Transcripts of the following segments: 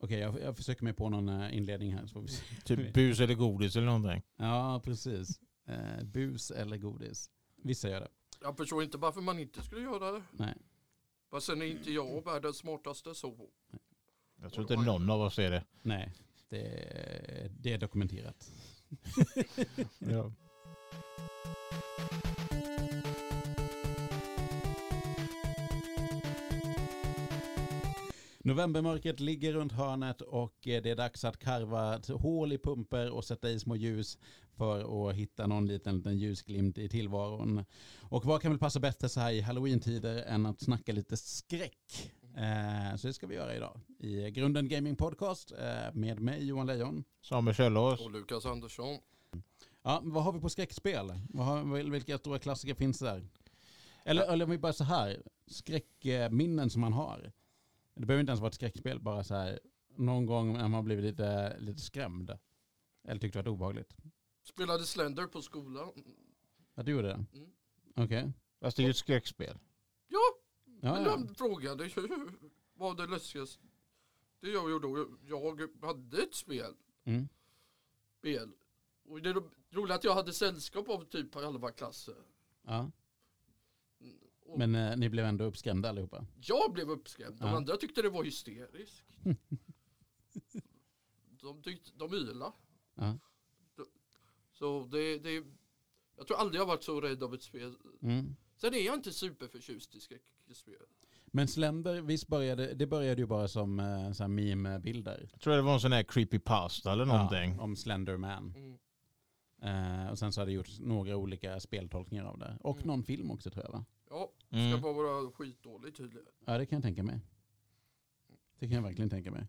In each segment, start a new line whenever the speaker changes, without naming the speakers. Okej, jag, jag försöker mig på någon eh, inledning här så får vi se.
Typ bus eller godis eller någonting.
Ja, precis. Eh, bus eller godis. Vissa gör det.
Jag förstår inte varför man inte skulle göra det.
Nej.
Fast sen är inte jag världens smartaste så.
Jag tror inte någon av oss är det.
Nej, det, är- det är dokumenterat.
Ja.
Novembermörkret ligger runt hörnet och eh, det är dags att karva ett hål i pumper och sätta i små ljus för att hitta någon liten, liten ljusglimt i tillvaron. Och vad kan väl passa bättre så här i halloween-tider än att snacka lite skräck? Eh, så det ska vi göra idag i Grunden Gaming Podcast eh, med mig Johan Lejon.
Samuel Källås.
Och Lukas Andersson.
Ja, vad har vi på skräckspel? Vad har, vil- vilka stora klassiker finns där? Eller, eller om vi bara så här, skräckminnen som man har. Det behöver inte ens vara ett skräckspel, bara så här, någon gång när man blivit lite, lite skrämd. Eller tyckte det var obehagligt.
Spelade Slender på skolan.
Att du gjorde det?
Mm.
Okej.
Fast det är ju ett skräckspel.
Ja,
Ja,
men
ja.
han frågade ju vad det läskigaste det jag gjorde. då. Jag hade ett spel.
Mm.
spel. Och det ro- roliga att jag hade sällskap av typ halva klassen.
ja.
Mm. Och
Men eh, ni blev ändå uppskrämda allihopa?
Jag blev uppskrämd. De
Ja.
andra tyckte det var hysteriskt. de tyckte, de ylade.
Ja.
Så det, det, jag tror aldrig jag varit så rädd av ett spel.
Mm.
Sen är jag inte superförtjust i skräckspel.
Men Slender, visst började, det började ju bara som eh, så här meme-bilder.
Jag tror det var en sån här creepy pasta eller någonting.
Ja, om Slenderman.
Mm.
Eh, och sen så har det gjorts några olika speltolkningar av det. Och
Mm.
någon film också tror jag va?
Ja, ska
Mm.
bara vara skitdålig tydligen.
Ja det kan jag tänka mig. Det kan jag verkligen tänka mig.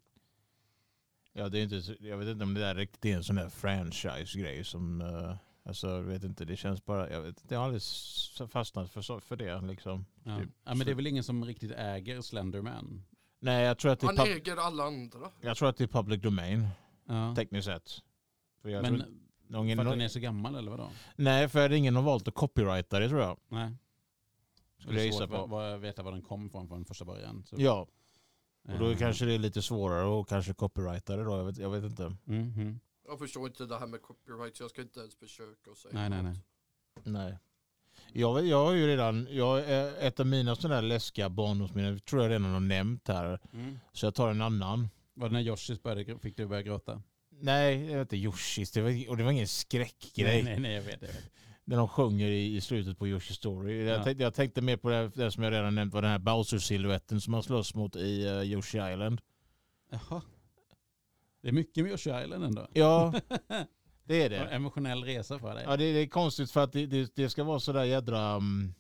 Ja, det är inte, så- jag vet inte om det där riktigt är en sån där franchise-grej som... eh, alltså, jag vet inte, det känns bara... Jag vet inte, jag har aldrig s- fastnat för, så- för det liksom.
Ja.
Typ.
ja men det är väl ingen som riktigt äger Slenderman?
Nej, jag tror att det är,
Han
pub-
äger alla andra.
jag tror att det är public domain,
Ja.
tekniskt sett. För jag
Men
tror, någon,
för att
någon,
den är så gammal eller vadå?
Nej, för ingen har valt att copyrighta det tror jag.
Nej.
Skulle jag gissa på.
Vad, veta var den kom från från första början. Så.
Ja, och då
Eh,
kanske det är lite svårare att kanske copyrighta det då. Jag vet, jag vet inte.
mhm.
Jag förstår inte det här med copyright så jag ska inte ens försöka och säga
Nej, nej,
något.
nej.
Nej. Jag, vet- jag har ju redan, jag, är- ett av mina sådana där läskiga barndomsminnen tror jag redan har nämnt här.
Mm.
Så jag tar en annan.
Var det när Joshis började, gr- fick du börja gråta?
Nej, jag vet inte, Yoshis. Det var, och det var ingen
Nej,
skräckgrej.
nej, nej jag vet. Jag vet.
När de sjunger i, i slutet på Yoshi Story. Jag,
Ja.
tänkte, jag tänkte mer på det, här- det här som jag redan nämnt var den här Bowser-silhuetten som man slåss mot i uh, Yoshi Island.
Jaha. Det är mycket med Yoshi Island ändå.
Ja, det är det.
En emotionell resa för dig.
Ja, det, det är konstigt för att det, det, det ska vara sådär jädra um,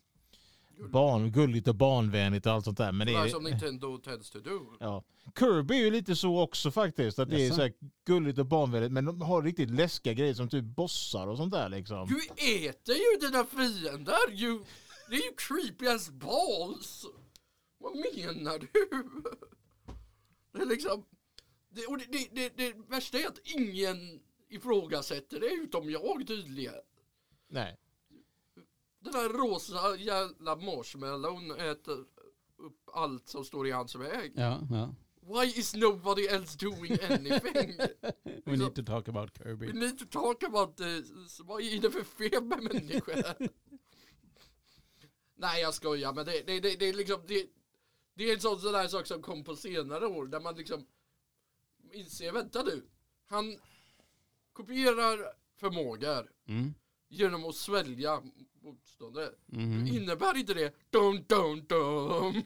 barn, gulligt och barnvänligt och allt sånt där. Men det
Det här
är,
som Nintendo tends to do.
ja. Kirby är ju lite så också faktiskt. Att det är
Jaså?
såhär gulligt och barnvänligt men de har riktigt läskiga grejer som typ bossar och sånt där liksom.
Du äter ju dina fiender! You, det är ju creepy as balls! Vad menar du? Det är liksom... Det, och det, det, det, det värsta är att ingen ifrågasätter det, utom jag tydligen.
Nej.
Den här rosa jävla marshmallown äter upp allt som står i hans väg.
Ja, ja.
Why is nobody else doing anything?
We need to talk about Kirby.
We need to talk about this. eh, Vad är det för fel med människor? Nej jag skojar men det, det, det, det är liksom det, det är en sån, sån där sak som kom på senare år där man liksom inser, vänta nu. Han kopierar förmågor
Mm.
genom att svälja motståndare.
Mhm.
Innebär inte det dum dum dum?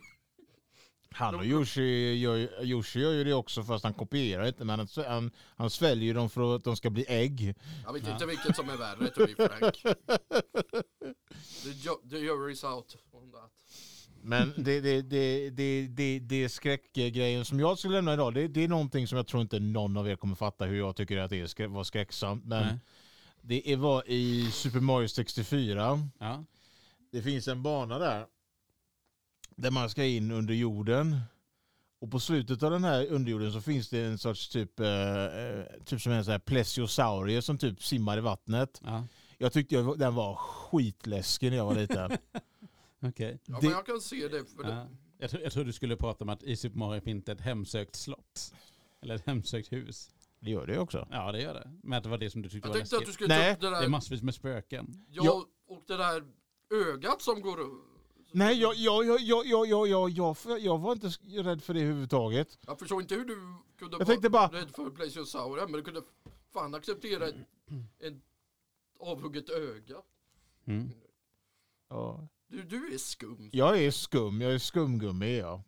Han och Yoshi gör, ju- Yoshi gör ju det också fast han kopierar inte men han, han, han sväljer ju dem för att de ska bli ägg.
Jag vet
Ja.
inte vilket som är värre to be frank. The, ju- the jury's out on that.
Men det, det, det, det, det, det skräckgrejen som jag skulle lämna idag, det, det är någonting som jag tror inte någon av er kommer fatta hur jag tycker att det är skrä- var skräcksamt. Men
Nej.
det är- var i Super Mario 64.
Ja.
Det finns en bana där, där man ska in under jorden. Och på slutet av den här underjorden så finns det en sorts typ, eh, eh, typ som en sån här plesiosaurie som typ simmar i vattnet.
ja.
Jag tyckte jag, den var skitläskig när jag var liten.
Okej.
Ja
Det-
men jag kan se det för det,
Ja. Jag, tror, jag tror du skulle prata om att i Super Mario finns det ett hemsökt slott. Eller ett hemsökt hus.
Det gör det också.
Ja, det gör det. Men det var det som du tyckte
Jag
var
tänkte att
läskigt.
du skulle
Nej,
ta upp det
Det är
där,
massvis med spöken.
ja, och det där ögat som går upp.
Nej, jag, jag, jag, jag, jag, jag, jag, jag, jag var inte sk- rädd för det överhuvudtaget.
Jag förstår inte hur du kunde
Jag tänkte bara-
rädd för Plesiosauria, men du kunde fan acceptera ett, ett avhugget öga.
Mm.
Ja.
Du, du är skum.
Jag är skum, jag är skumgummi. Ja.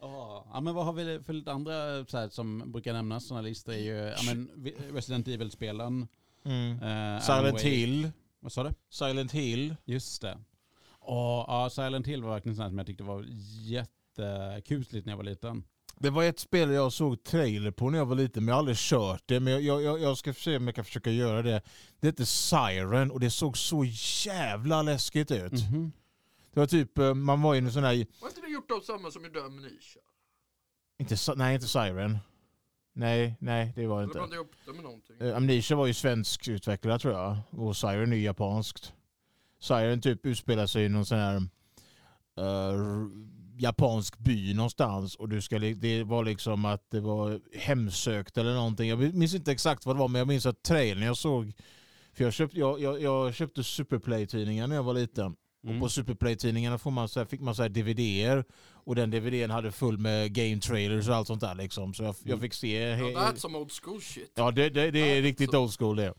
Ja, men vad har vi för lite andra eh, så här, som brukar nämnas sådana listor? Är ju, ja, men vi- Resident Evil-spelen.
Mm.
eh, Alan
Silent
Wake.
Hill.
Vad sa du?
Silent Hill.
Just det. Och, ja, Silent Hill var verkligen sånt som jag tyckte var jättekusligt när jag var liten.
Det var ett spel jag såg trailer på när jag var liten, men jag har aldrig kört det. Men jag, jag- jag, jag ska se om jag kan försöka göra det. Det hette Siren och det såg så jävla läskigt ut.
Mhm.
Det var typ, eh, man var i en sån här...
Var inte det gjort av samma som gjorde Amnesia?
Inte, Si- nej, inte Siren. Nej, nej, det var det
Eller
inte.
blandade jag upp det med någonting?
Eh, Amnesia var ju svensk utvecklad tror jag. Och Siren är ju japanskt. Siren typ utspelar sig i någon sån här eh, r- japansk by någonstans. Och du ska, li- det var liksom att det var hemsökt eller någonting. Jag minns inte exakt vad det var men jag minns att trailern jag såg. För jag köpte, jag, jag, jag köpte Superplay-tidningen när jag var liten.
Mm.
Och på Superplay-tidningarna får man så här, fick man så här DVD-er. Och den DVDn hade full med game trailers och allt sånt där liksom. Så jag, jag fick se... he-
Ja, that's some old school shit.
Ja, det, det, det är
Ja,
riktigt
så-
old school det.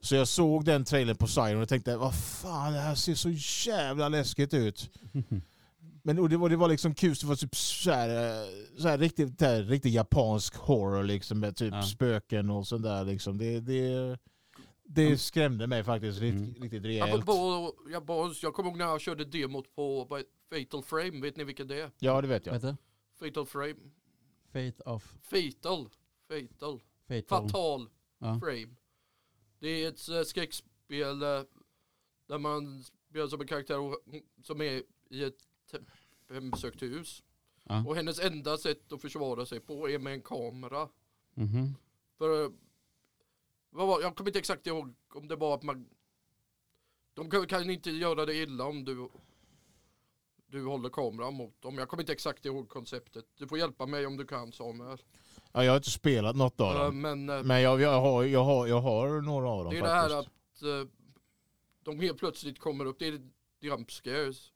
Så jag såg den trailern på Siren och tänkte, vad fan, det här ser så jävla läskigt ut. Men och det, var, det var liksom kul, det var typ så här, eh, så här riktigt, så här, riktigt japansk horror liksom med typ
Ja.
spöken och sånt där liksom. Det, det, det skrämde mig faktiskt rikt,
Mm.
riktigt
Jag,
rejält.
bara, jag, bara, jag kommer ihåg när jag körde demot på vad- Fatal Frame, vet ni vilken det är?
Ja, det vet
Vad
jag.
heter det?
Fatal Frame.
Fate of...
Fatal. Fatal.
Fatal.
Fatal
Ja.
Frame. Det är ett eh, skräckspel eh, där man spelar som en karaktär och- som är i ett te- hemsökt hus.
Ja.
Och hennes enda sätt att försvara sig på är med en kamera.
Mhm.
För eh, vad var, jag kommer inte exakt ihåg om det var att man De kan, kan inte göra det illa om du Du håller kameran mot dem. Jag kommer inte exakt ihåg konceptet. Du får hjälpa mig om du kan Samuel.
Ja, jag har inte spelat något av
Eh,
dem.
men eh,
Men jag, jag, har, jag, har, jag har några av dem
det är det
faktiskt.
här att eh, de helt plötsligt kommer upp. Det är jump scares.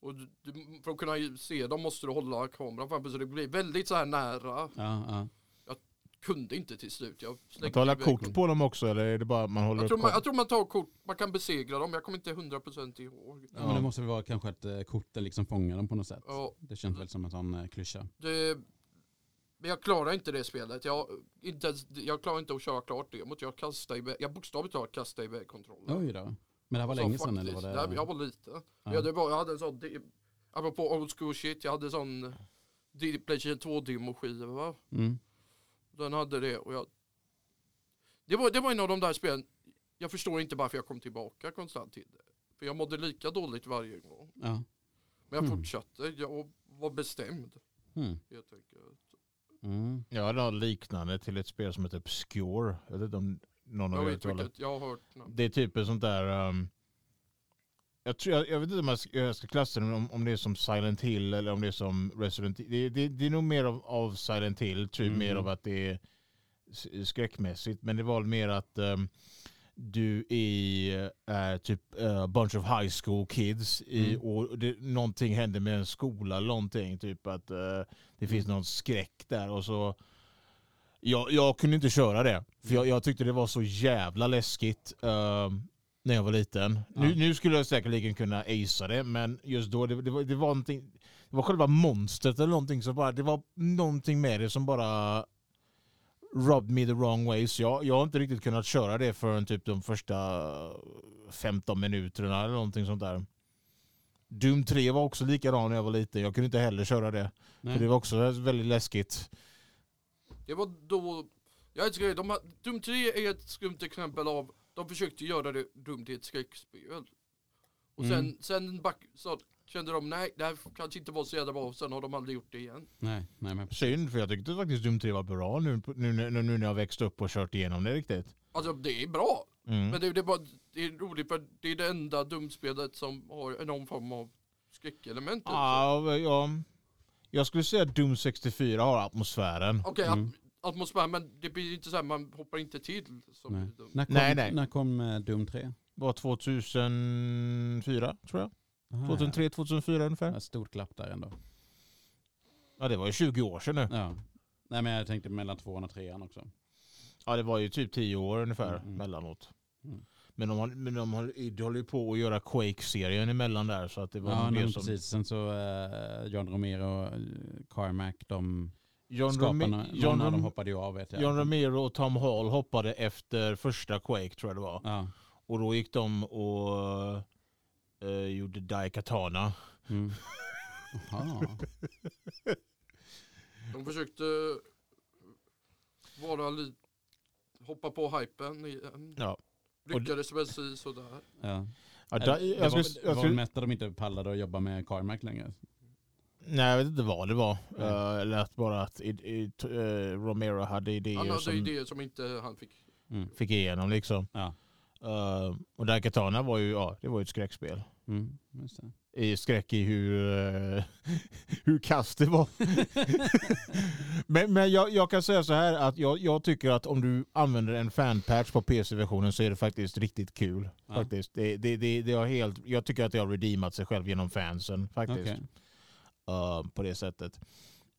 Och du, du, för att kunna se dem måste du hålla kameran framför så det blir väldigt så här nära.
Ja, ja.
Kunde inte till slut. Jag
Man
slängde
tar alla
iväg
kort på dem också eller är det bara att man håller
Jag tror,
upp
man, jag tror man tar kort, man kan besegra dem, jag kommer inte 100% ihåg.
Ja, men det måste väl vara kanske att eh, korten liksom fångar dem på något sätt.
Ja,
Det känns väl som en sån eh, klyscha.
det, men jag klarar inte det spelet. Jag, inte ens, jag klarar inte att köra klart demot. Jag kastade iväg, jag bokstavligt talat kastade iväg kontrollen.
Oj då. Men det här var
Så
länge sedan
faktiskt,
eller var det?
Nej, men jag var liten.
Ja.
Jag, hade bara, jag hade en sån, de- apropå old school shit, jag hade en sån de- Playstation 2 demoskiva.
Mm.
Den hade det och jag... Det var, det var en av de där spelen, jag förstår inte varför jag kom tillbaka konstant till det. För jag mådde lika dåligt varje gång.
Ja.
Men jag
Mm.
fortsatte, jag var bestämd
Mm.
helt enkelt.
Mm.
Jag hade något liknande till ett spel som heter Obscure. Jag vet inte om någon
Jag
har
vet
hört talas
vilket, jag har hört namn.
Det är typ ett sånt där... ehm, jag, tror, jag, jag vet inte om jag ska, jag ska klassa det, om, om det är som Silent Hill eller om det är som Resident Evil. Det, det, det är nog mer av, av Silent Hill, typ
Mm.
mer av att det är s- skräckmässigt. Men det var mer att ehm, du är, är typ eh, bunch of high school kids i,
Mm.
och det, någonting händer med en skola, eller någonting. Typ att eh, det finns
Mm.
någon skräck där och så jag, jag kunde inte köra det. För
Mm.
jag, jag tyckte det var så jävla läskigt ehm, när jag var liten. Nu,
Ja.
nu skulle jag säkerligen kunna acea det, men just då, det, det, var, det var någonting... Det var själva monstret eller någonting som bara... Det var någonting med det som bara rubbed me the wrong way. Så jag, jag har inte riktigt kunnat köra det förrän typ de första 15 minuterna eller någonting sånt där. Doom 3 var också likadan när jag var liten. Jag kunde inte heller köra det.
Nej.
För det var också väldigt läskigt.
Det var då, jag älskar det, de, har- Doom 3 är ett skumt exempel av, de försökte göra det dumt i ett skräckspel. Och sen,
Mm.
sen back, så kände de, nej det här kanske inte var så jävla bra, och sen har de aldrig gjort det igen.
Nej, nej, men precis.
Synd, för jag tyckte faktiskt Doom 3 var bra nu, nu, nu, nu när jag växt upp och kört igenom det riktigt.
Alltså det är bra,
Mm.
men det, det, är bara, det är roligt för det är det typ,
Ah.
enda dumspelet som har någon form av skräckelement. i sig.
Ja, ja. Jag skulle säga att Doom 64 har atmosfären.
Okej,
Mm.
at- atmosfär, men det blir inte så här, man hoppar inte till. Som
Nej.
de-
När kom,
Nej, nej.
När kom eh, Doom 3?
Det var 2004 tror jag.
Aha,
2003, 2004
Ja.
ungefär.
Ja, Stort glapp där ändå.
Ja det var ju 20 år sedan nu.
Ja. Nej men jag tänkte mellan tvåan och trean också.
Ja det var ju typ 10 år ungefär
Mm, mm.
mellanåt.
Mm.
Men de, har- men de, har- de håller ju på att göra Quake-serien emellan där så att det var
Ja,
nog
nej,
det
men
som...
precis. Sen så eh, John Romero och eh, Carmack, de
John,
skaparna,
Rome-
någon
John,
av dem
Rom-
hoppade ju av vet jag.
John Romero och Tom Hall hoppade efter första Quake tror jag det var.
ja.
Och då gick de och eh, gjorde Daikatana.
mm. Jaha.
De försökte vara lite, hoppa på hypen igen.
Ja. Och-
Lyckades väl si sådär.
Ja.
Ja,
Eller,
da,
det
jag
var,
skulle,
skulle,
jag
var väl
skulle,
mest att de inte pallade att jobba med Carmack längre.
nej, jag vet inte vad det var.
Nej.
Eh, eller att bara att i, i, t- eh, Romero hade idéer
Han hade
som
idéer som inte han fick.
Mm.
fick igenom liksom.
Ja.
Eh, och Daikatana var ju, ja, det var ju ett skräckspel.
Mm. Just det.
i skräck i hur, eh, hur kast det var. men men jag, jag kan säga så här att jag, jag tycker att om du använder en fanpatch på PC-versionen så är det faktiskt riktigt kul.
Ja.
Faktiskt. Det, det, det, det har helt, jag tycker att det har redeemat sig själv genom fansen faktiskt.
Okej.
Eh, på det sättet.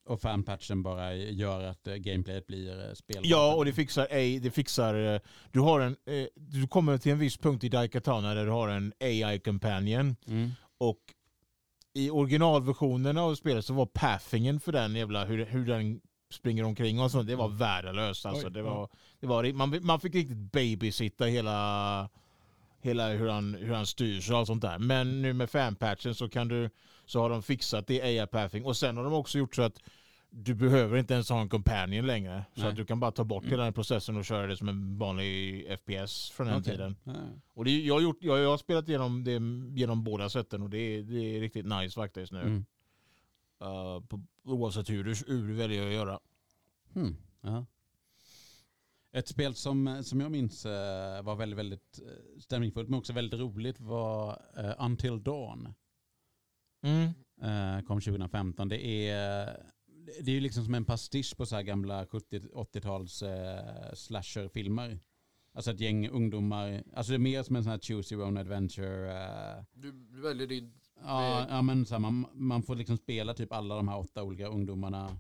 Och fanpatchen bara gör att eh, gameplayet blir eh, spelbart.
Ja, och det fixar, ej, det fixar eh, du, har en, eh, du kommer till en viss punkt i Daikatana där du har en AI-companion.
Mm.
Och i originalversionen av spelet så var pathingen för den jävla, hur, hur den springer omkring och sånt, det var värdelöst alltså.
Mm. Oj,
det
ja.
var, det var, man, man fick riktigt babysitta hela, hela hur, han, hur han styrs och allt sånt där. Men nu med fanpatchen så kan du, så har de fixat det i AI-pathing och sen har de också gjort så att du behöver inte ens ha en companion längre. Så
Nej. Mm.
att du kan bara ta bort hela den processen och köra det som en vanlig FPS från den
Okej.
tiden.
Ja.
Och det, jag, har gjort, jag, jag har spelat igenom det genom båda sätten och det, är- det är riktigt nice faktiskt nu.
Mm.
Uh, på, oavsett hur du, hur du väljer att göra.
Hmm. ja. Ett spel som, som jag minns eh, var väldigt, väldigt eh, stämningsfullt men också väldigt roligt var eh, Until Dawn. Eh, kom 2015. Det är, det är ju liksom som en pastisch på så här gamla 70-80-tals eh, slasherfilmer. Alltså ett gäng ungdomar, alltså det är mer som en sån här choose your own adventure. Eh,
Du väljer din...
ja,
Väg.
ja, men så här, man, man får liksom spela typ alla de här åtta olika ungdomarna.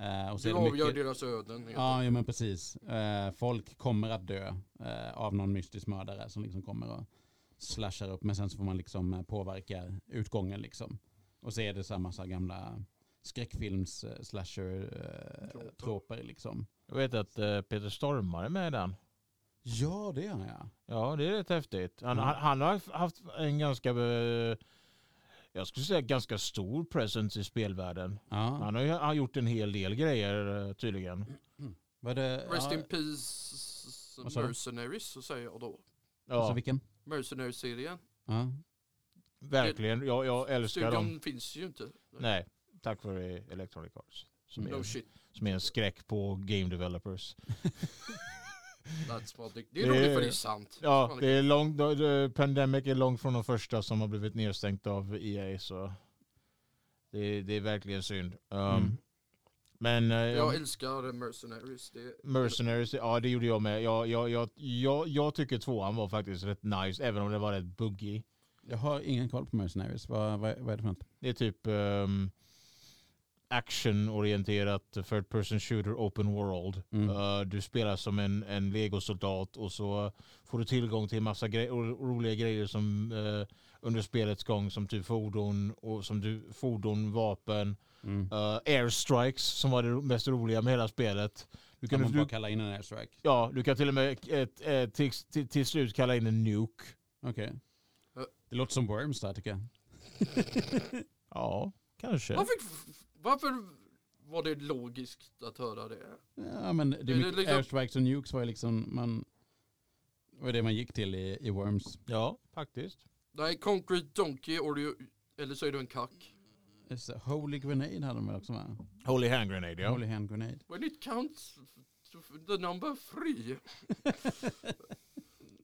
Eh, och så
Du
är det
avgör
mycket,
deras öden. helt
Ja, ja, men precis. Eh, folk kommer att dö eh, av någon mystisk mördare som liksom kommer och slashar upp. Men sen så får man liksom eh, påverka utgången liksom. Och så är det samma så här gamla skräckfilms eh, slasher eh,
Troper.
troper liksom.
Jag vet att eh, Peter Stormare är med i den.
Ja, det gör jag.
Ja, det är rätt häftigt. Han,
Mm.
han, han har haft en ganska, eh, jag skulle säga ganska stor presence i spelvärlden.
Ja.
Han har ju han har gjort en hel del grejer eh, tydligen.
Var det,
Rest
ja,
in peace
Vad sa du?
Mercenaries, så säger jag då.
Alltså
Ja,
vilken?
Mercenaries-serien.
Ja.
verkligen. Jag, jag älskar dem.
Studion finns ju inte.
Nej, tack vare Electronic Arts. Som
No
är,
shit,
som är en skräck på game developers.
that's what they... Det är
Det
roligt
är-
för det är sant.
Ja,
Fan,
det är långt, då- då- Pandemic är långt från de första som har blivit nedstängt av EA. Så det, är- det är verkligen synd. Um,
Mm.
Men eh,
Jag älskar Mercenaries. Det är...
Mercenaries, ja det gjorde jag med. Jag, jag, jag, jag, jag tycker tvåan var faktiskt rätt nice, även om det var rätt buggy.
Jag har ingen koll på Mercenaries. Vad, vad, vad är det för något?
Det är typ um, actionorienterat, third person shooter, open world.
Mm.
Eh, du spelar som en, en legosoldat och så får du tillgång till massa gre- ro- roliga grejer som eh, under spelets gång som typ fordon, och som du, fordon vapen,
Mm.
eh, airstrikes som var det ro- mest roliga med hela spelet. Du
Kan
kan,
man bara
du,
kalla in en airstrike?
ja, du kan till och med ett, eh, till, till, till slut kalla in en nuke.
Okej.
Ja.
Det låter som Worms där tycker jag.
Ja, kanske.
Varför, varför var det logiskt att höra det?
Ja men det är
Det är
mycket
liksom-
airstrikes och nukes var ju liksom man var ju det man gick till i, i Worms.
Ja, faktiskt.
Nej, Concrete Donkey or you, eller så är du en kack.
Just det, Holy Grenade hade de väl också va?
Holy hand grenade, ja.
Holy Hand Grenade.
When it counts to f- the number three.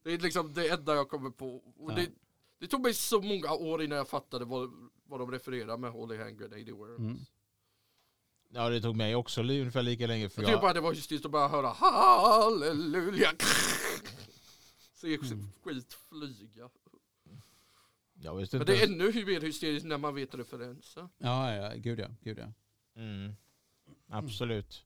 det är liksom det enda jag kommer på. Och
Ja.
det, det tog mig så många år innan jag fattade vad, vad de refererade med Holy Hand Grenade i Worms.
Mm.
Ja, det tog mig också li- ungefär lika länge. För
Jag tycker
jag,
bara det var just att bara höra halleluja. Se
Mm.
skit flyga.
jag visste
Men
inte.
det är
ens-
ännu mer hysteriskt när man vet referenser.
Ja, ja, gud ja. Gud ja.
Mm. Absolut.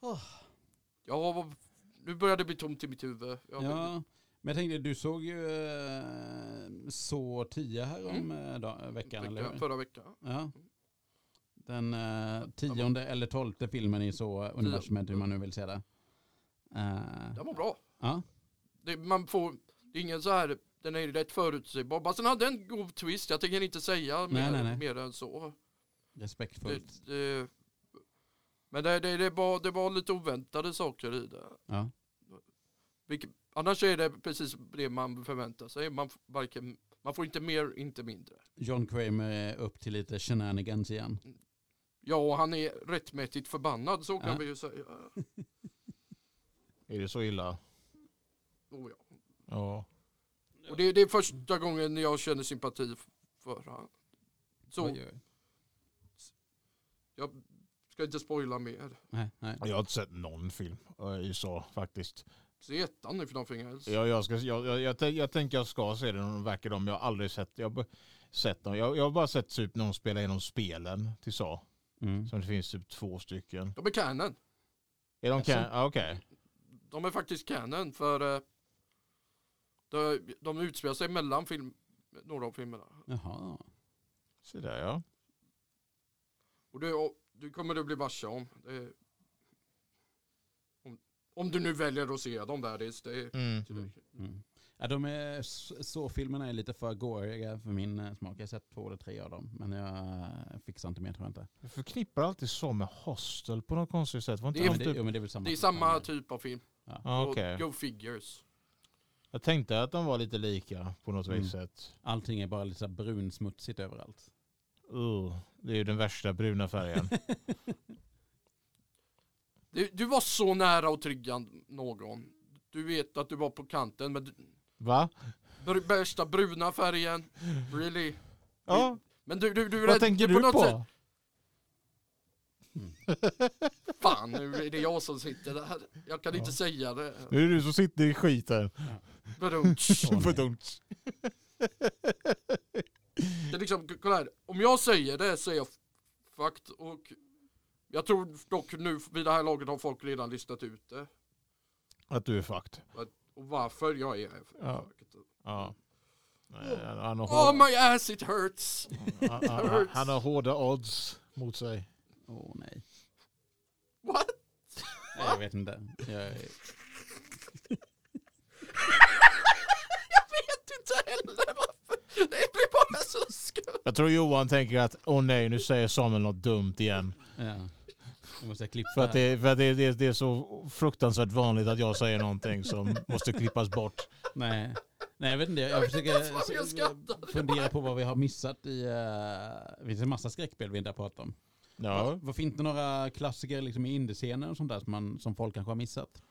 Ja, vad- nu börjar det bli tomt i mitt huvud. Jag vill-
ja. Men jag tänkte, du såg ju eh, så 10 här om eh, dag, veckan, eller
vecka,
hur?
förra veckan.
Ja. Den eh, tionde eller tolfte filmen i så universumet, hur man nu vill säga det. Eh,
Den var bra.
ja.
Det, man får, det är ingen så här, den är rätt förutsägbar. Men sen hade en god twist, jag tänker inte säga mer,
Nej, nej, nej.
mer än så.
Respektfullt.
Det, det, men det, det, det, var, det var lite oväntade saker i det.
Ja.
Vilket, annars är det precis det man förväntar sig. Man, f- varken, man får inte mer, inte mindre.
John Kramer är upp till lite shenanigans igen.
Ja, och han är rättmätigt förbannad, så kan
Ja.
vi ju säga.
Är det så illa?
Oh, ja.
Ja.
Och det, det är första gången jag känner sympati f- för honom. Så,
Oj, oj.
jag ska inte spoila mer.
Nej, nej.
Jag har inte sett någon film eh, i så faktiskt.
Se ettan nu för någonting helst.
Jag, jag, ska, jag, jag, jag, tänk- jag tänker jag ska se den någon vacker dag, men jag har aldrig sett, jag, har b- sett dem. Jag, jag har bara sett typ någon spela igenom spelen till så.
Mm.
Som det finns typ två stycken.
De är canon.
Är de
Jaså?
kan? Ah, Okej.
De är faktiskt canon för eh, de, de utspelar sig mellan film, några av filmerna.
Jaha.
Så där ja.
Och det, och, det kommer du bli varse om. Det, är- om. Om du nu väljer att se dem där. Det, det,
Mm.
det,
Mm. Ja, de är, s- så filmerna är lite för gåriga för min eh, smak. Jag har sett två eller tre av dem, men jag eh, fixar inte mer tror jag inte.
Jag förknippar alltid så med hostel på något konstigt sätt. Var inte
Det är-
Ja,
han
men det,
typ...
jo, men det är väl samma.
det är samma typ av film.
ah,
Och
okej.
Go figures.
Jag tänkte att de var lite lika på något
Mm.
vis sätt.
Allting är bara lite så här brunsmutsigt överallt.
Uh, det är ju den värsta bruna färgen.
Du, du var så nära att trigga någon. Du vet att du var på kanten men du-
Va?
br bästa bruna färgen. Really?
Ja,
Men du, du, du
vad tänker du på?
Fan, nu är det jag som sitter där. Jag kan inte säga det.
Nu är det du som sitter i skiten.
Badum.
Åh, nej.
Badunts.
Det är liksom, k- kolla här. Om jag säger det så är jag f- fucked och jag tror dock nu vid det här laget har folk redan listat ut det.
Att du är fucked.
Och varför jag är f-
Ja.
fucked.
Ja. Nej, han- Han har,
Oh
hårda,
my ass it hurts!
han, han- han, han har hårda odds mot sig.
Åh nej.
What?
nej. Jag vet inte. Jag är...
jag vet inte heller varför. Det blir bara så skumt.
Jag tror Johan tänker att åh nej, nu säger Samuel något dumt igen.
Ja. Jag måste klippa.
För att, det, för att det, det, det är så fruktansvärt vanligt att jag säger någonting som måste klippas bort.
Nej. nej, jag vet inte. Jag, jag
ens varför
försöker
jag skrattar.
fundera på vad vi har missat i... eh, Det finns en massa skräckspel vi inte har pratat om.
Ja.
Varför inte några klassiker liksom i indiescenen och sånt där som, man, som folk kanske har missat?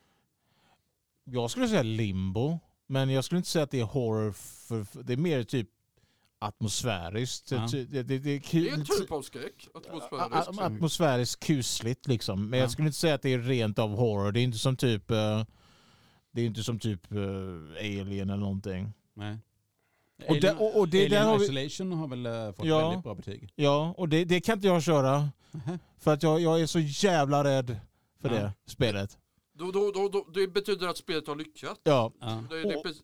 Jag skulle säga limbo, men jag skulle inte säga att det är horror. För, för, det är mer typ atmosfäriskt.
Ja.
Ty- Det, det, det är
Det är en
kul.
typ av skräck. Atmosfärisk.
A- a- Atmosfäriskt kusligt liksom. Men
Ja.
jag skulle inte säga att det är rent av horror. Det är inte som typ eh, det är inte som typ eh, Alien eller någonting.
Nej.
Och, där, och, och det, där har vi,
Isolation har väl eh, fått
Ja.
väldigt bra betyg.
ja, och det, det kan inte jag köra.
Nähä.
För att jag, jag är så jävla rädd för
Ja.
det spelet.
Då, då, då, då, det betyder att spelet har lyckats.
Ja,
Ja.
Det, det, är
Och-
precis,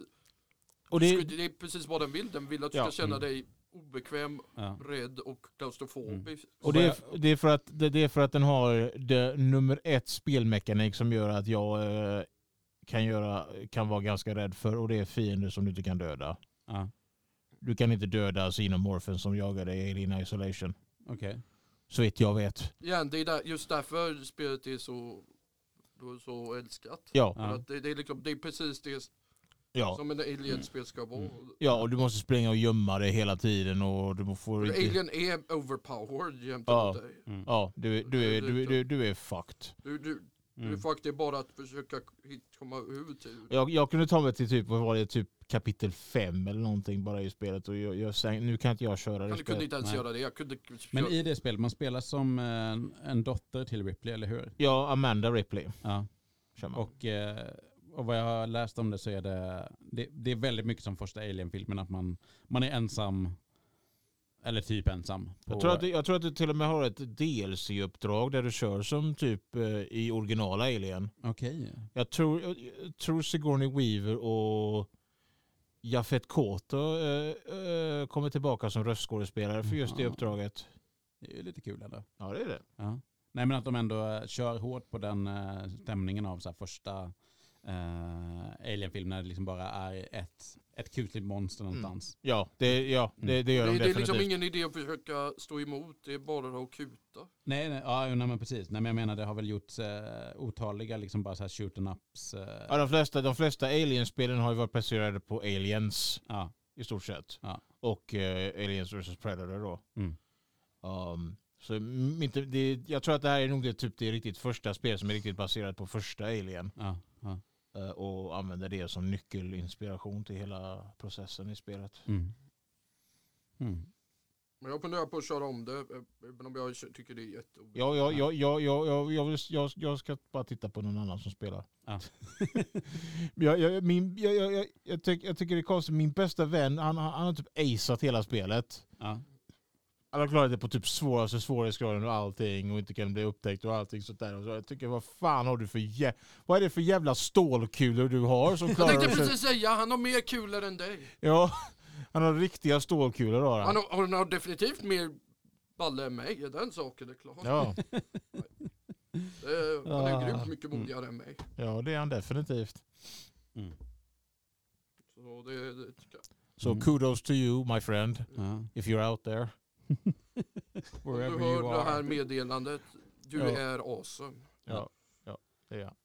och
det,
det,
är precis vad den vill. Den vill att du
Ja.
ska känna
Mm.
dig obekväm,
Ja.
rädd och klaustrofobisk.
och det, är, det, är för att, det det är för att den har det nummer ett spelmekanik som gör att jag eh, kan, göra, kan vara ganska rädd för och det är fiender som du inte kan döda.
Ja.
Du kan inte döda xenomorphen som jagar dig i din isolation.
Okej.
Så vitt jag vet.
Ja, det är där, just därför spelet är så, då är så älskat.
Ja,
Ja.
För att det, det, är liksom, det är precis det
ja. Mm.
som en alien-spel ska vara.
Ja, och du måste springa och gömma dig hela tiden och du får
För
inte...
Alien är overpowered jämte
Ja.
dig.
Ja, du, du, är, du, du, du är fucked.
Du, du, du
Mm.
faktiskt bara att försöka hit, komma ut ur.
Jag, jag kunde ta mig till typ, vad var det, typ kapitel 5 eller någonting bara i spelet. Och jag, jag, säng- nu kan inte jag köra det
Jag kunde
spelet.
inte ens
Nej.
göra det. Jag kunde...
Men i det spelet, man spelar som eh, en dotter till Ripley, eller hur?
Ja, Amanda Ripley
Ja.
kör man.
Och, eh, och vad jag har läst om det så är det, det, det är väldigt mycket som första Alien-filmen, att man, man är ensam, eller typ ensam.
Jag
på-
tror, att, du- jag tror att du till och med har ett DLC-uppdrag där du kör som typ eh, i originala Alien.
Okej.
Jag tror, jag, jag tror Sigourney Weaver och Jafet Koto eh, eh, kommer tillbaka som röstskådespelare för just det
Jaha.
uppdraget.
Det är ju lite kul ändå.
Ja, det är det.
Ja. Nej men att de ändå eh, kör hårt på den eh, stämningen av så här, första eh, Alien-filmen när det liksom bara är ett, ett kusligt monster någonstans.
Ja, det, ja, det, det gör
det,
de
det är
definitivt.
liksom ingen idé att försöka stå emot. Det är bara att kuta.
Nej, nej, ja, jo, nej men precis. Nej men jag menar det har väl gjorts eh, otaliga liksom bara så här shoot and ups. Eh,
Ja, de flesta, de flesta Alien-spelen har ju varit baserade på Aliens
ja.
i stort sett.
Ja.
Och eh, Aliens vs Predator då.
Mm.
Um, så m- inte, det, jag tror att det här är nog det, typ det riktigt första spel som är riktigt baserat på första Alien.
Ja, ja.
eh, och använder det som nyckelinspiration till hela processen i spelet.
Mm. Mm.
Men jag funderar på att köra om det. eh, Även om jag kö- tycker det är jätteolämpligt.
Jag, jag, jag, jag, jag, jag, jag, vill, jag, jag ska bara titta på någon annan som spelar.
Ja.
jag, jag, min, jag, jag, jag, jag, tyck, jag tycker det är konstigt, min bästa vän han, han, han har typ acat hela spelet.
Ja.
Han har klarat det på typ svåraste svårighetsgraden och allting och inte kan bli upptäckt och allting sånt där. Och så jag tycker vad fan har du för jä- Vad är det för jävla stålkulor du har som
Jag
klarar
tänkte
att-
precis säga, han har mer kulor än dig.
Ja, han har riktiga stålkulor har
Han
han.
har, han har definitivt mer balle än mig, är den saken är klar.
Ja,
Eh, han är
Ah.
grymt mycket modigare än mig.
ja, det är han definitivt.
Mm.
Så det, det tycker jag.
So
Mm.
kudos to you my friend,
Ja.
if you're out there.
Om du
Wherever you
hör det här
are.
meddelandet, du
Ja.
är awesome.
Ja, ja, det är han.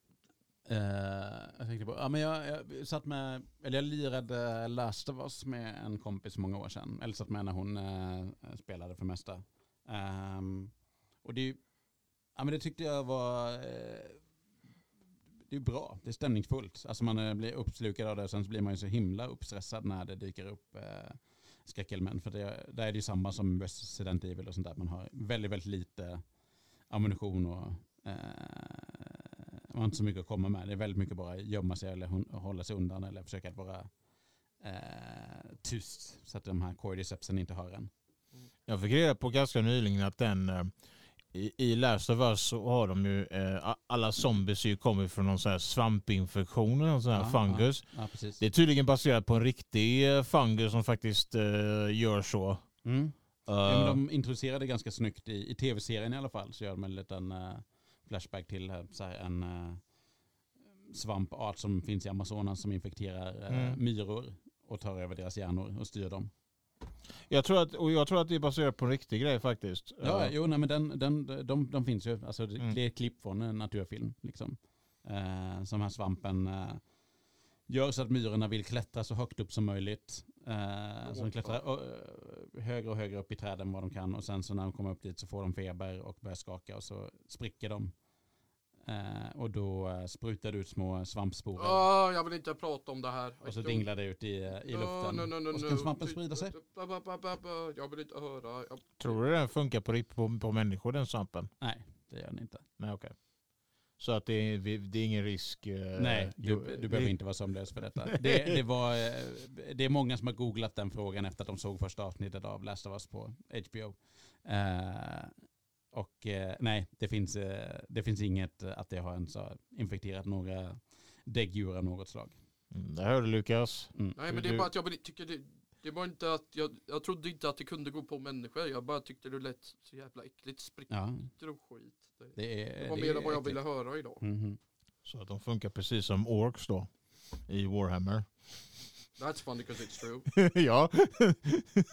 Eh, jag tänkte på, ja, men jag, jag satt med, eller jag lirade Last of Us med en kompis många år sedan. Eller satt med när hon eh, spelade för det mesta. Ehm, och det, är ju- ja, men det tyckte jag var eh, det är bra, det är stämningsfullt. Alltså man eh, blir uppslukad av det och sen så blir man ju så himla uppstressad när det dyker upp eh, skräckelement. För det, där är det ju samma som Resident Evil och sånt där. Man har väldigt, väldigt lite ammunition och eh, man har inte så mycket att komma med. Det är väldigt mycket bara gömma sig eller hon- hålla sig undan eller försöka att vara eh, tyst så att de här cordycepsen inte hör en.
Jag fick reda på ganska nyligen att den eh, i, i Last of Us så har de ju eh, a- alla zombies ju kommit från någon sån här svampinfektion eller någon sån här
Ja,
fungus.
Ja, precis.
Det är tydligen baserat på en riktig eh, fungus som faktiskt eh, gör så.
Mm.
Eh,
Ja, men de introducerade ganska snyggt i, i tv-serien i alla fall. Så gör de en liten eh, flashback till eh, så här, en eh, svampart som finns i Amazonas som infekterar eh,
Mm.
myror och tar över deras hjärnor och styr dem.
jag, tror att, och jag tror att det är baserat på en riktig grej faktiskt.
Ja,
Eh,
jo, nej, men den, den, de, de finns ju. Alltså, det,
Mm.
det är ett klipp från en naturfilm. Liksom. Eh, som här svampen eh, gör så att myrorna vill klättra så högt upp som möjligt. Eh, så de klättrar ö, högre och högre upp i träden vad de kan. Och sen så när de kommer upp dit så får de feber och börjar skaka och så spricker de. Eh, och då eh, sprutar det ut små svampsporer.
Ah, jag vill inte prata om det här.
Oh, Och så dinglar det ut i, eh, i luften.
No, no, no, no,
och så kan
no.
svampen sprida sig.
Ba, ba, ba, ba, ba. Jag vill inte höra. Jag...
Tror du den funkar på, rikt- på, på människor den svampen?
Nej, det gör den inte.
Nej okej. Så att det är, vi- det är ingen risk? eh,
Nej, du,
det-
du behöver inte vara sömnlös för detta. Det, det, var, eh, det är många som har googlat den frågan efter att de såg första avsnittet av Last of Us på HBO. Eh, och eh, nej, det finns, eh, det finns inget eh, att det har ens har infekterat några däggdjur av något slag.
Mm, Där hör du Lukas.
Mm.
Nej, men det
Du-
är bara att jag vill, tycker det, det var inte att jag, jag trodde inte att det kunde gå på människor. Jag bara tyckte det lät så jävla äckligt. Sprickor
Ja,
och skit. Det,
det är...
det var
det
mer
är
än vad jag
äckligt.
ville höra idag.
Mhm.
Så att de funkar precis som orks då. I Warhammer.
That's funny because it's true.
ja.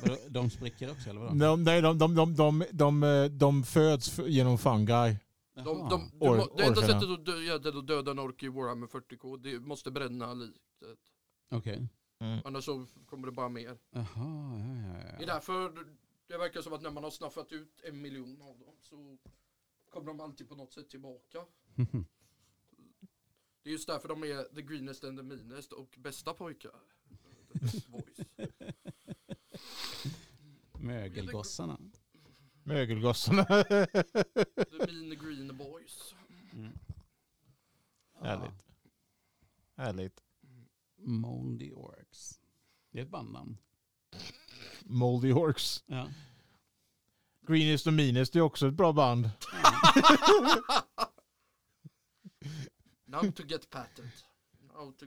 Vadå, De spricker också eller vadå?
De, nej, de, de, de, de, de, eh, de föds f- genom fungi.
De,
Jaha.
de, du
Or-
må, det enda
orcherna.
sättet att döda, att döda en ork i Warhammer 40K, det måste bränna liket.
Okej. Mm.
Annars så kommer det bara mer.
Jaha, ja, ja,
Det är
ja.
därför det verkar som att när man har snaffat ut en miljon av dem så kommer de alltid på något sätt tillbaka.
Mhm.
Det är just därför de är the greenest and the meanest och bästa pojkar. voice.
Mögelgossarna.
Mögelgossarna.
The mean green boys. Mm.
Härligt. Härligt.
Moldy Orcs. Det är ett bandnamn.
Moldy Orcs.
Ja.
Greenest och Meanest är också ett bra band.
Now to get patent. Now to...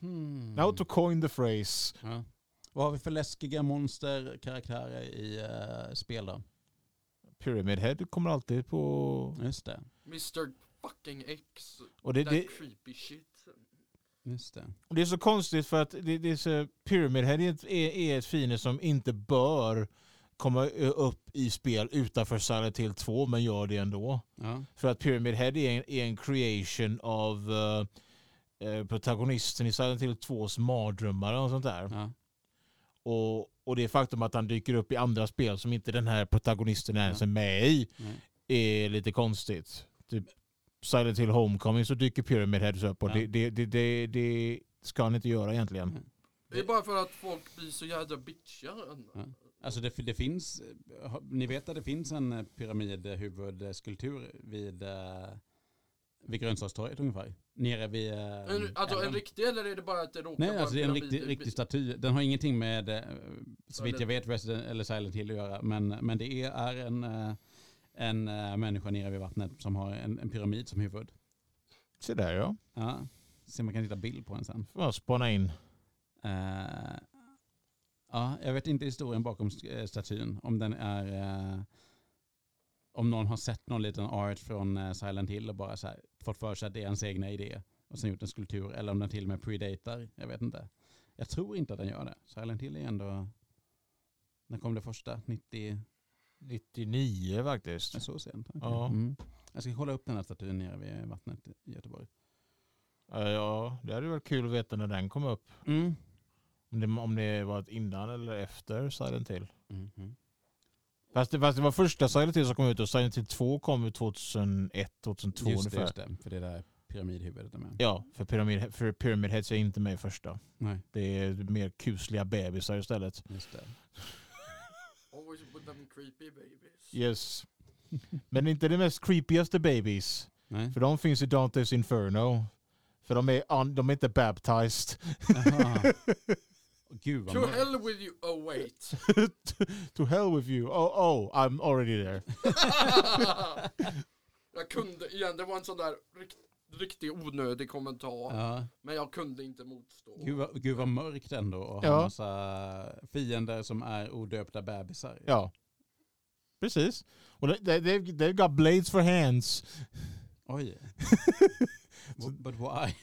Hmm.
Now to coin the phrase.
Ja. Vad har vi för läskiga monsterkaraktärer i eh, spel då?
Pyramid Head kommer alltid på...
Just det.
Mr fucking X.
Och det,
that
det,
creepy shit.
Just det.
det är så konstigt för att det, det är så, Pyramid Head är, ett- är, är ett fiende som inte bör komma ö, upp i spel utanför Silent Hill 2 men gör det ändå.
Ja.
För att Pyramid Head är en, är en creation av eh, eh, protagonisten i Silent Hill 2s mardrömmare och sånt där.
Ja.
Och, och det faktum att han dyker upp i andra spel som inte den här protagonisten ens är med i
Nej.
är lite konstigt. Typ Silent Hill Homecoming så dyker Pyramid Head upp och
Ja. Mm.
det, det, det, det, det ska han inte göra egentligen.
Nej.
Det är bara för att folk blir så jävla bitchiga.
Alltså det, det finns, har- ni vet att det finns en eh, pyramidhuvudskulptur vid, eh, vid Grönsakstorget ungefär. Nere vid... eh,
En, alltså
älven.
en riktig eller är det bara att det råkar
Nej,
vara
alltså det är en
pyramid-
riktig, riktig staty. Den har ingenting med, eh, så vitt jag
Silent-
vet, Resident eller Silent Hill att göra. Men, men det är- är en, eh, en eh, människa nere vid vattnet som har en, en pyramid som huvud.
Se där ja.
Ja. Så man kan hitta bild på den sen.
Får man spana in.
Eh, ja, jag vet inte historien bakom eh, statyn. Om den är... eh, om någon har sett någon liten art från eh, Silent Hill och bara så här, fått för sig att det är ens egna idé och sen gjort en skulptur. Eller om den till och med predatar. Jag vet inte. Jag tror inte att den gör det. Silent Hill är ändå... När kom det första? 90?
99 faktiskt.
Nej, Så sent? Okej.
Ja.
Mm. Jag ska kolla upp den här statyn nere vid vattnet i Göteborg.
Ja, Ja, det hade varit kul att veta när den kom upp. Om det, om det var ett innan eller efter Silent Hill.
Mhm.
Fast det, fast det var första Silent Hill som kom ut och Silent Hill 2 kom ut 2001, 2002
Just det,
ungefär.
just det. För det där pyramidhuvudet är med.
Ja, för Pyramid, för Pyramid Heads är inte med i första.
Nej,
Det är mer kusliga bebisar istället.
just det.
Always with them creepy babies.
Yes. Men inte de mest creepigaste babies.
Nej.
För de finns i Dantes Inferno. För de är, un, de är inte baptized.
Jaha. Gud vad
To
mörkt.
hell with you, oh wait.
to hell with you. Oh, oh, I'm already there.
jag kunde, igen det var en sån där rikt, riktigt onödig kommentar.
Ja,
Men jag kunde inte motstå.
gud, vad, gud vad mörkt ändå och ha
Ja.
massa fiender som är odöpta bebisar.
Ja. Precis. Och they, they, they've, they've got blades for hands.
Oj. Wh- But why?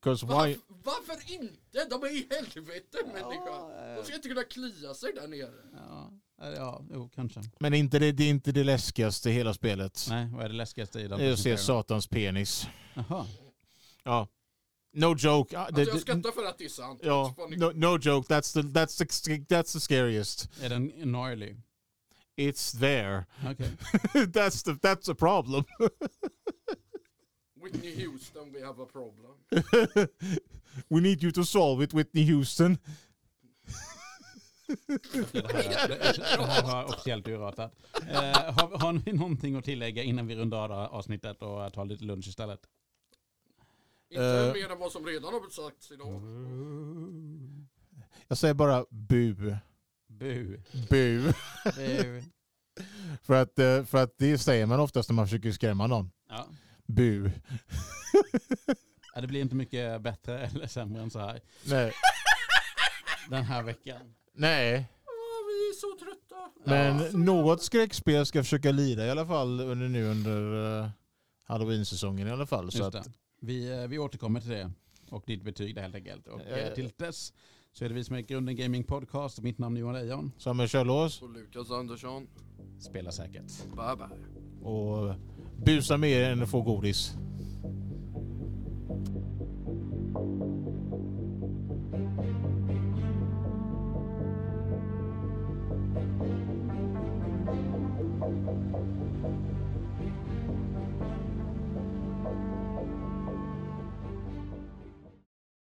Cause why...
Varf, varför inte? De är i helvete människa.
Ja,
De ska inte kunna klia sig där nere.
ja, ja, jo kanske.
Men inte det, det är inte det läskigaste i hela spelet.
Nej, vad är det läskigaste i den?
Det är att se Satans penis.
Jaha.
Ja. No joke. Ah, det-
Alltså jag
det-
skrattar för att det är sant.
Ja,
Fan,
no, no joke. That's the, that's, the, that's the scariest.
Är den gnarly?
It's there.
Okej.
that's, the, that's the problem.
Whitney Houston, we have a problem.
We need you to solve it, Whitney Houston.
Det här, det, det här var officiellt urartat. Eh, har, har ni någonting att tillägga innan vi rundar av avsnittet och tar lite lunch istället?
Inte
Eh. Mm.
mer än vad som redan har sagts idag.
Jag säger bara bu.
Bu.
Bu.
Bu.
För att, eh, för att det säger man oftast när man försöker skrämma någon.
Ja.
Bu.
Ja, det blir inte mycket bättre eller sämre än så här
Nej.
den här veckan.
Nej.
Åh, vi är så trötta.
Men
Ja.
något skräckspel ska jag försöka lida i alla fall under, nu under eh, halloween-säsongen i alla fall. Så
Just
att,
det. Vi, eh, vi återkommer till det och ditt betyg där helt enkelt. Och
Ja, ja,
eh,
ja.
till dess så är det vi som är Grunden Gaming Podcast. Mitt namn är Johan Lejon.
Samuel Kärlås
Så Lukas Andersson,
Spela säkert.
bye bye.
och busa mer än att få godis.